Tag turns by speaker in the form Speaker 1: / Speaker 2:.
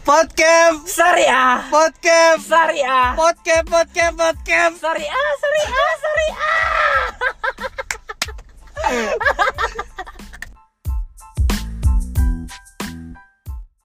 Speaker 1: Podcast,
Speaker 2: Syariah.
Speaker 1: podcast,
Speaker 2: Syariah.
Speaker 1: podcast, podcast, podcast.
Speaker 2: Syariah, syariah, syariah.